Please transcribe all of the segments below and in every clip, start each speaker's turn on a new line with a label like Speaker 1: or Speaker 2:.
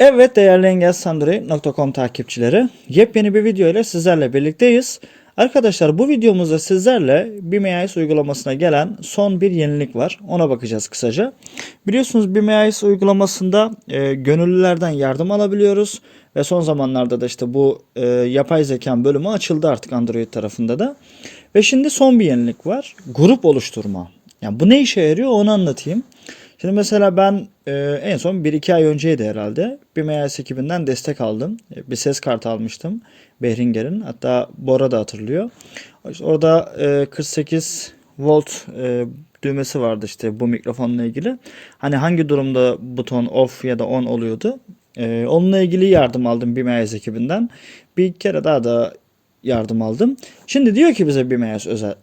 Speaker 1: Evet değerli engelsandroid.com takipçileri yepyeni bir video ile sizlerle birlikteyiz. Arkadaşlar bu videomuzda sizlerle BMIS uygulamasına gelen son bir yenilik var. Ona bakacağız kısaca. Biliyorsunuz BMIS uygulamasında e, gönüllülerden yardım alabiliyoruz. Ve son zamanlarda da işte bu e, yapay zekan bölümü açıldı artık Android tarafında da. Ve şimdi son bir yenilik var. Grup oluşturma. Yani bu ne işe yarıyor onu anlatayım. Şimdi mesela ben e, en son 1-2 ay önceydi herhalde. Bir MIS ekibinden destek aldım. E, Bir ses kartı almıştım. Behringer'in. Hatta Bora da hatırlıyor. İşte orada e, 48 volt e, düğmesi vardı işte bu mikrofonla ilgili. Hani hangi durumda buton off ya da on oluyordu. E, onunla ilgili yardım aldım bir MIS ekibinden. Bir kere daha da yardım aldım. Şimdi diyor ki bize bir MIS özel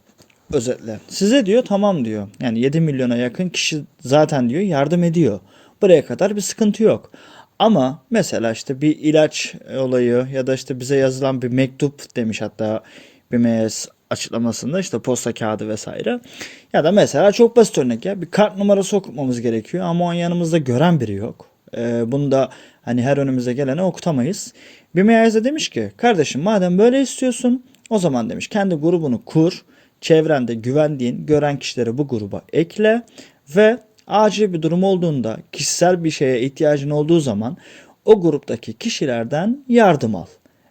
Speaker 1: özetle. Size diyor tamam diyor. Yani 7 milyona yakın kişi zaten diyor yardım ediyor. Buraya kadar bir sıkıntı yok. Ama mesela işte bir ilaç olayı ya da işte bize yazılan bir mektup demiş hatta BMS açıklamasında işte posta kağıdı vesaire. Ya da mesela çok basit örnek ya bir kart numarası okutmamız gerekiyor ama o an yanımızda gören biri yok. Ee, bunu da hani her önümüze gelene okutamayız. BMS de demiş ki kardeşim madem böyle istiyorsun o zaman demiş kendi grubunu kur. Çevrende güvendiğin, gören kişileri bu gruba ekle ve acil bir durum olduğunda, kişisel bir şeye ihtiyacın olduğu zaman o gruptaki kişilerden yardım al.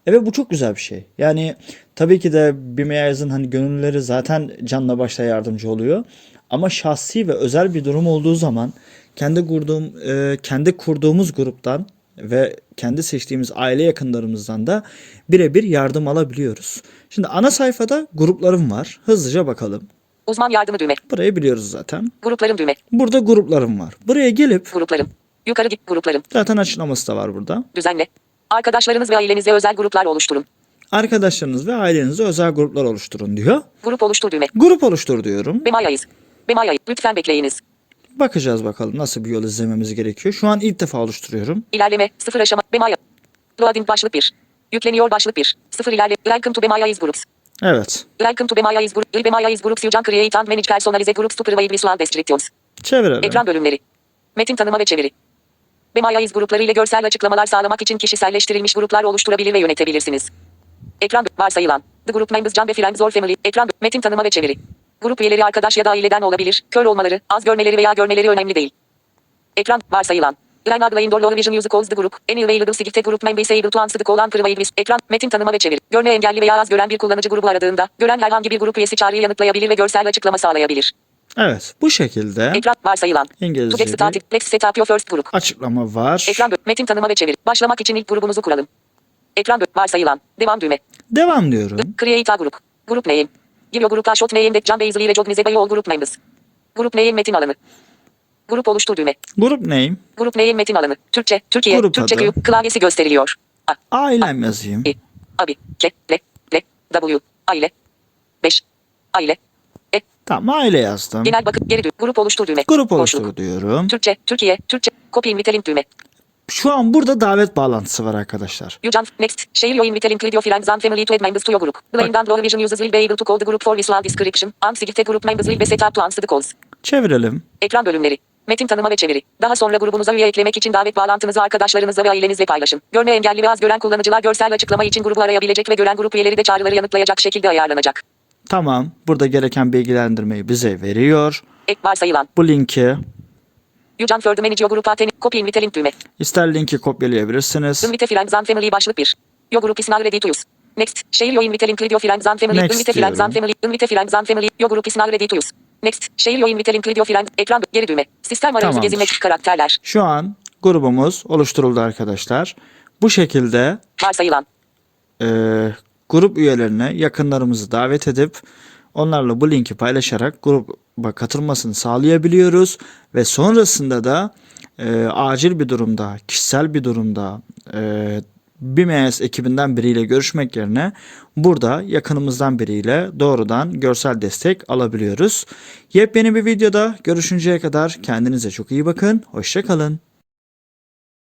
Speaker 1: Evet bu çok güzel bir şey. Yani tabii ki de BMI'nin hani gönülleri zaten canla başla yardımcı oluyor. Ama şahsi ve özel bir durum olduğu zaman kendi kurduğum, e, kendi kurduğumuz gruptan ve kendi seçtiğimiz aile yakınlarımızdan da birebir yardım alabiliyoruz. Şimdi ana sayfada gruplarım var. Hızlıca bakalım.
Speaker 2: Uzman yardımı düğme.
Speaker 1: Burayı biliyoruz zaten.
Speaker 2: Gruplarım düğme.
Speaker 1: Burada gruplarım var. Buraya gelip
Speaker 2: Gruplarım. Yukarı git gruplarım.
Speaker 1: zaten açıklaması da var burada.
Speaker 2: Düzenle. Arkadaşlarınız ve ailenize özel gruplar oluşturun.
Speaker 1: Arkadaşlarınız ve ailenize özel gruplar oluşturun diyor.
Speaker 2: Grup oluştur düğme.
Speaker 1: Grup oluştur diyorum.
Speaker 2: Bemayayız. Bemayayız. Lütfen bekleyiniz.
Speaker 1: Bakacağız bakalım nasıl bir yol izlememiz gerekiyor. Şu an ilk defa oluşturuyorum.
Speaker 2: İlerleme. Sıfır aşama. Bemaya. Loading başlık 1. Yükleniyor başlık 1. Sıfır ilerle. Welcome to Bemayayız Groups.
Speaker 1: Evet.
Speaker 2: Welcome to Bemayayız Groups. Bemayayız Groups. You can create and manage personalize groups to provide visual descriptions.
Speaker 1: Çevirelim.
Speaker 2: Ekran bölümleri. Metin tanıma ve çeviri. Bemayayız grupları ile görsel açıklamalar sağlamak için kişiselleştirilmiş gruplar oluşturabilir ve yönetebilirsiniz. Ekran varsayılan. The group members Can ve Friends or Family. Ekran metin tanıma ve çeviri. Grup üyeleri arkadaş ya da aileden olabilir. Kör olmaları, az görmeleri veya görmeleri önemli değil. Ekran varsayılan. Ren Aglain Dolor Vision Music Calls the Group. Any available sigilde grup members able to answer the call and provide with- Ekran metin tanıma ve çeviri. Görme engelli veya az gören bir kullanıcı grubu aradığında, gören herhangi bir grup üyesi çağrıyı yanıtlayabilir ve görsel açıklama sağlayabilir.
Speaker 1: Evet. Bu şekilde
Speaker 2: Ekran varsayılan. To
Speaker 1: İngilizce
Speaker 2: get
Speaker 1: bir
Speaker 2: started, let's set up your first group.
Speaker 1: açıklama var.
Speaker 2: Ekran bö- metin tanıma ve çevir. Başlamak için ilk grubunuzu kuralım. Ekran bö- varsayılan. Devam düğme.
Speaker 1: Devam diyorum.
Speaker 2: Create a group. Group name. Give your group a short name that Can Beyzli ile Jognize Bay all group members. Group name metin alanı. Grup oluştur düğme.
Speaker 1: Grup name.
Speaker 2: Grup name metin alanı. Türkçe, Türkiye,
Speaker 1: Grup
Speaker 2: Türkçe
Speaker 1: adı.
Speaker 2: Q klavyesi gösteriliyor. A, E,
Speaker 1: Ailem yazayım.
Speaker 2: I, Abi, K, L, L, W, Aile. 5, Aile. E,
Speaker 1: Tamam aile yazdım.
Speaker 2: genel bakım geri düğme. Grup oluştur düğme.
Speaker 1: Grup
Speaker 2: Boşluk.
Speaker 1: oluştur diyorum.
Speaker 2: Türkçe, Türkiye, Türkçe. Copy invite link düğme.
Speaker 1: Şu an burada davet bağlantısı var arkadaşlar.
Speaker 2: You jump next. Share your invite link with your friends and family to add members to your group. Blind and low vision users will be able to call the group for visual description. And select group members will be set up to answer the calls.
Speaker 1: Çevirelim.
Speaker 2: Ekran bölümleri. Metin tanıma ve çeviri. Daha sonra grubunuza üye eklemek için davet bağlantınızı arkadaşlarınızla ve ailenizle paylaşın. Görme engelli ve az gören kullanıcılar görsel açıklama için grubu arayabilecek ve gören grup üyeleri de çağrıları yanıtlayacak şekilde ayarlanacak.
Speaker 1: Tamam. Burada gereken bilgilendirmeyi bize veriyor.
Speaker 2: Ek E, varsayılan.
Speaker 1: Bu linki
Speaker 2: You jump further manage your group at any copy invite link düğme.
Speaker 1: ister linki kopyalayabilirsiniz.
Speaker 2: Invite friends and family başlık 1. Your group is now ready to use. Next, share your invite link with your friends and family.
Speaker 1: Next
Speaker 2: invite friends
Speaker 1: diyorum.
Speaker 2: and family. Invite friends and family. Your group is now ready to use. Next, share your invite link with your friends. Ekran geri düğme. Sistem arayüzü
Speaker 1: Tamamdır.
Speaker 2: gezinmek karakterler.
Speaker 1: Şu an grubumuz oluşturuldu arkadaşlar. Bu şekilde
Speaker 2: Varsayılan.
Speaker 1: e, grup üyelerine yakınlarımızı davet edip onlarla bu linki paylaşarak gruba katılmasını sağlayabiliyoruz ve sonrasında da e, acil bir durumda, kişisel bir durumda e, BMS ekibinden biriyle görüşmek yerine burada yakınımızdan biriyle doğrudan görsel destek alabiliyoruz. Yepyeni bir videoda görüşünceye kadar kendinize çok iyi bakın. Hoşçakalın.